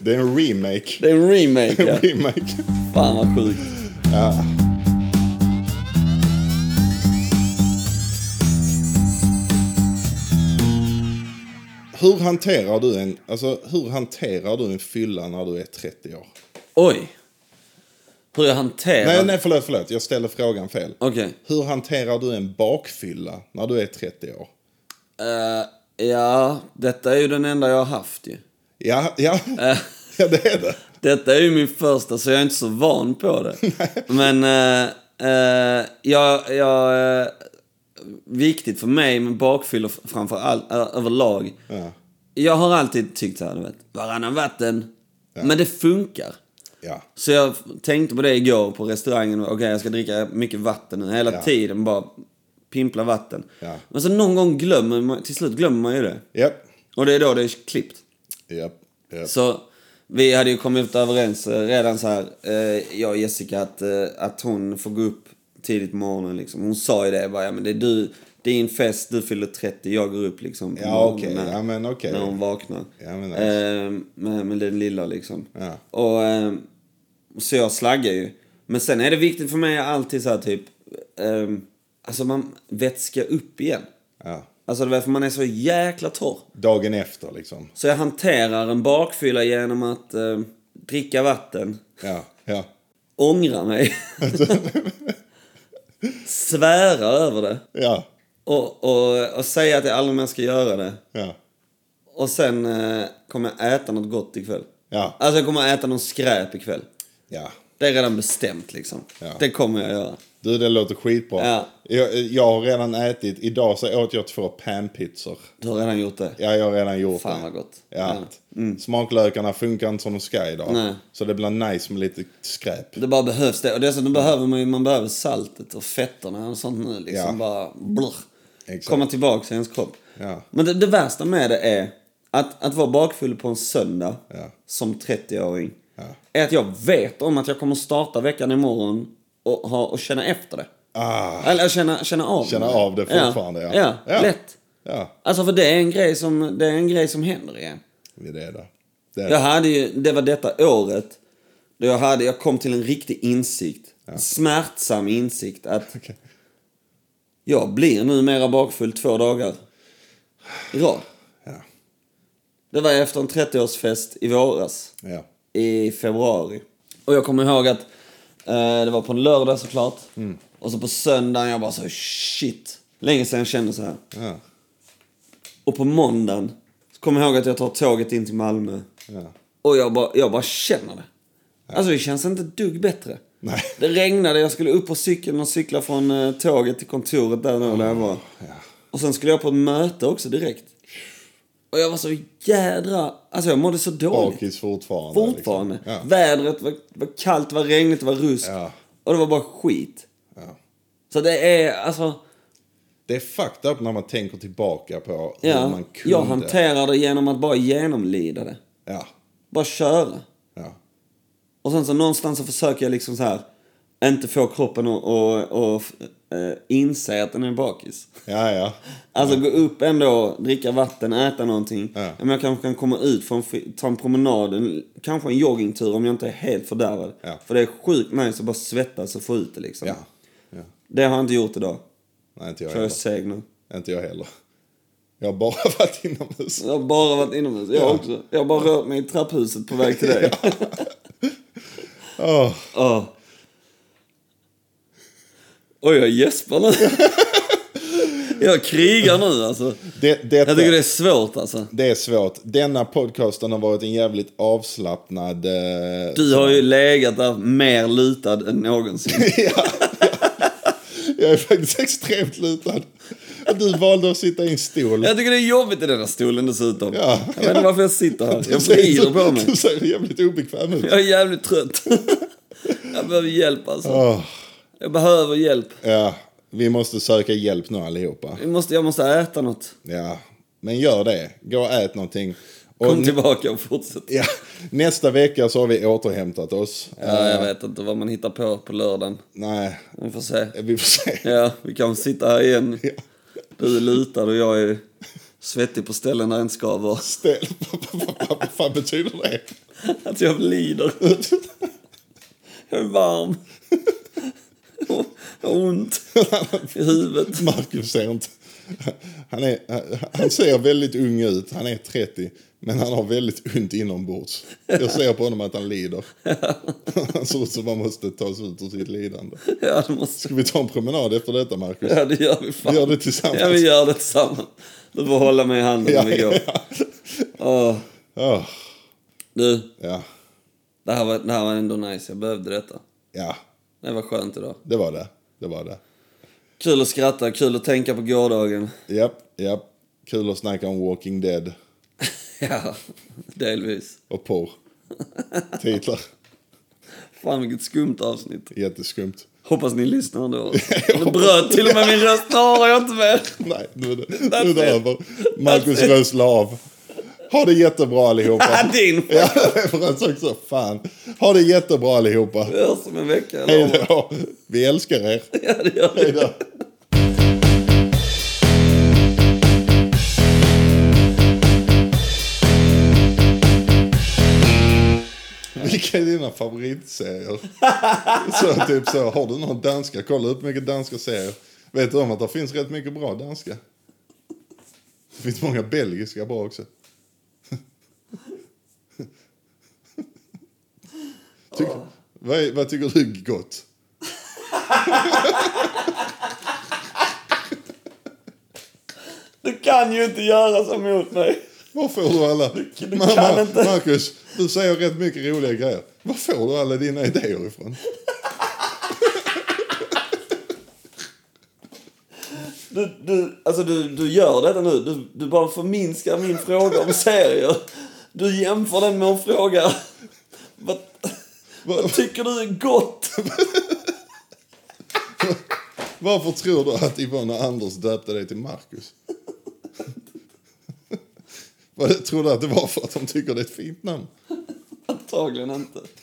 Det är en remake. Det är en remake, En (laughs) ja. (laughs) remake. Fan vad sjukt. Hur hanterar du en, alltså, hur hanterar du en fylla när du är 30 år? Oj! Hur jag hanterar... Nej, nej, förlåt, förlåt. Jag ställer frågan fel. Okej. Hur hanterar du en bakfylla när du är 30 år? Eh, ja, detta är ju den enda jag har haft ju. Ja, ja. Eh. (laughs) ja det är det. Detta är ju min första, så jag är inte så van (laughs) på det. Men eh, eh, jag... jag eh, viktigt för mig med bakfyllor framför allt, ö- överlag. Ja. Jag har alltid tyckt så här, du vet. Varannan vatten. Men det funkar. Ja, Så jag tänkte på det igår på restaurangen. Okej, jag ska dricka mycket vatten nu. Hela Ja. tiden bara pimpla vatten. Ja. Men så någon gång glömmer man, till slut glömmer man ju det. japp, Och det är då det är klippt. japp, japp. Så vi hade ju kommit överens eh, redan så här, eh, jag och Jessica, att, eh, att hon får gå upp tidigt på morgonen. Liksom. Hon sa ju det, bara, ja, men det är du, din fest, du fyller 30, jag går upp liksom. på Ja, morgonen okej. när- Ja, men okej. När hon vaknar. Ja, men nice. eh, med, med den lilla liksom. Ja. Och, eh, så jag slaggar ju. Men sen är det viktigt för mig alltid så här typ, eh, alltså man vätska upp igen. Ja. Alltså det är för man är så jäkla torr. Dagen efter liksom. Så jag hanterar en bakfylla genom att eh, dricka vatten, Ja, ja. (laughs) ångra mig, svära över det Ja, och, och, och säga att jag aldrig mer ska göra det. ja, Och sen eh, kommer jag äta något gott ikväll. Ja. Alltså jag kommer äta någon skräp ikväll. ja. Det är redan bestämt liksom. Ja. Det kommer jag göra. Du, det låter skitbra. Ja. Jag, jag har redan ätit, idag så åt jag två panpizzor. Du har redan gjort det. Ja, jag har redan gjort Fan det. vad gott. Mm. Ja. Smaklökarna funkar inte som de ska idag. Nej. Så det blir nice med lite skräp. Det bara behövs det. Och Mm. dessutom behöver man ju man behöver saltet och fetterna och sånt nu. Liksom Ja. bara blr, Exakt. komma tillbaka till ens kropp. Ja. Men det, det värsta med det är att, att vara bakfull på en söndag Ja. som 30-åring. Är att jag vet om att jag kommer starta veckan imorgon och, ha, och känna efter det. Ah, Eller känna, känna av Känna av det fortfarande, ja. ja. Ja, Ja. lätt. ja. Alltså för det är en grej som, det är en grej som händer igen. Det är det då. Det är Jag hade ju, det var detta året då jag, hade, jag kom till en riktig insikt. Smärtsam insikt att Okej. Jag blir numera bakfull två dagar i rad. Ja. Det var efter en 30-årsfest i våras. Ja. i februari. Och jag kommer ihåg att eh, det var på en lördag såklart. Och så på söndagen jag bara så shit. Länge sedan jag kände så här. Ja. Och på måndagen så kommer jag ihåg att jag tar tåget in till Malmö. Ja. Och jag bara, jag bara känner det. Alltså det känns inte ett dugg bättre. Nej. Det regnade, jag skulle upp på cykeln och cykla från eh, tåget till kontoret där, då, där jag var. Och sen skulle jag på ett möte också direkt. Och jag var så jädra... Alltså jag mådde så dåligt. Bakis fortfarande. Fortfarande. Liksom. Ja. Vädret var, var kallt, det var regnigt, det var rusk. Ja. Och det var bara skit. Ja. Så det är alltså... Det är fucked up när man tänker tillbaka på hur Ja, man kunde. jag hanterar det genom att bara genomlida det. Ja. Bara köra. Ja. Och sen så någonstans så försöker jag liksom så här inte få kroppen att och, och, eh, inse att den är bakis. Ja, ja. Alltså gå upp ändå, dricka vatten, äta någonting. Ja. Men jag kanske kan komma ut, för en, fi- ta en promenad, en, kanske en joggingtur om jag inte är helt fördärvad. Ja. För det är sjukt nice att bara svettas och få ut det liksom. Ja. ja. Det har jag inte gjort idag. Nej, inte jag För jag är heller. seg nu. Inte jag heller. Jag har bara (laughs) varit inomhus. Jag har bara varit inomhus. Jag Ja. också. Jag har bara rört mig i trapphuset på väg (laughs) till dig. Åh. Åh. Oj, jag gäspar nu. (laughs) jag krigar nu alltså. Det, detta, Jag tycker det är svårt alltså. det är svårt. Denna podcasten har varit en jävligt avslappnad... eh, Du har ju legat där mer lutad än någonsin. Jag är faktiskt extremt lutad. Du valde att sitta i en stol. Jag tycker det är jobbigt i den här stolen dessutom. Ja. Jag vet inte varför jag sitter här. Du Jag ser- vrider på mig. Du ser jävligt obekväm ut. Jag är jävligt trött. jag behöver hjälp alltså. Åh. Jag behöver hjälp. Ja, vi måste söka hjälp nu allihopa. Jag måste, jag måste äta något. Ja, men gör det. Gå och ät någonting. Och Kom nä- tillbaka och fortsätt. ja, nästa vecka så har vi återhämtat oss. Ja, jag vet inte vad man hittar på på lördagen. Nej, Vi får se. vi får se. Ja, vi kan sitta här igen. Ja. Du är lutad och jag är svettig på ställen där jag inte ska vara. (laughs) Ställ. (laughs) Vad fan betyder det? Att jag lider. Jag är varm. Och jag har ont i (laughs) huvudet. Marcus ser inte... Han, är, han ser väldigt ung ut, han är 30, men han har väldigt ont inombords. Jag ser på honom att han lider. (laughs) Han ser ut som man måste ta sig ut ur sitt lidande. Ja, det måste Ska vi ta en promenad efter detta, Marcus? Ja, det gör vi fan. Vi gör det tillsammans. Ja, vi gör det tillsammans. Du får hålla mig i handen när vi går. Åh, Åh, du, ja. det här, var, det här var ändå nice. Jag behövde detta. ja, Det var skönt idag. det var det. Det var det. Kul att skratta, kul att tänka på gårdagen. (laughs) Japp, japp. Kul att snacka om Walking Dead Ja, delvis. och porr. Titlar. Fan vilket skumt avsnitt. Jätteskumt. Hoppas ni (laughs) lyssnar ändå. Det bröt till och med min röst. Nu har jag inte mer. (laughs) Nej, nu är det, nu är det över. Marcus röst la av. Ha det jättebra allihopa. (laughs) Ah, Din Ja, för han sa också fan. Ha det jättebra allihopa. Vi hörs om en vecka. Eller? Hej då. Vi älskar er. (laughs) Ja, det gör vi. Hej då. Vilka är dina (laughs) favoritserier? Så typ så, har du någon danska? Kolla upp mycket danska serier. Vet du om att det finns rätt mycket bra danska? Det finns många belgiska bra (laughs) också. Tyck, vad, är- vad tycker du är gott? Du kan ju inte göra så mot mig. Var får du alla? du Mamma, kan inte. Marcus, du säger rätt mycket roliga grejer. Var får du alla dina idéer ifrån? Du, du, alltså du, du gör detta nu. Du, du bara förminskar min fråga om serier. Du jämför den med en fråga. Vad, vad tycker du är gott? Varför tror du att Yvonne och Anders döpte dig till Marcus? Vad- tror du att det var för att de tycker det är ett fint namn? Antagligen inte.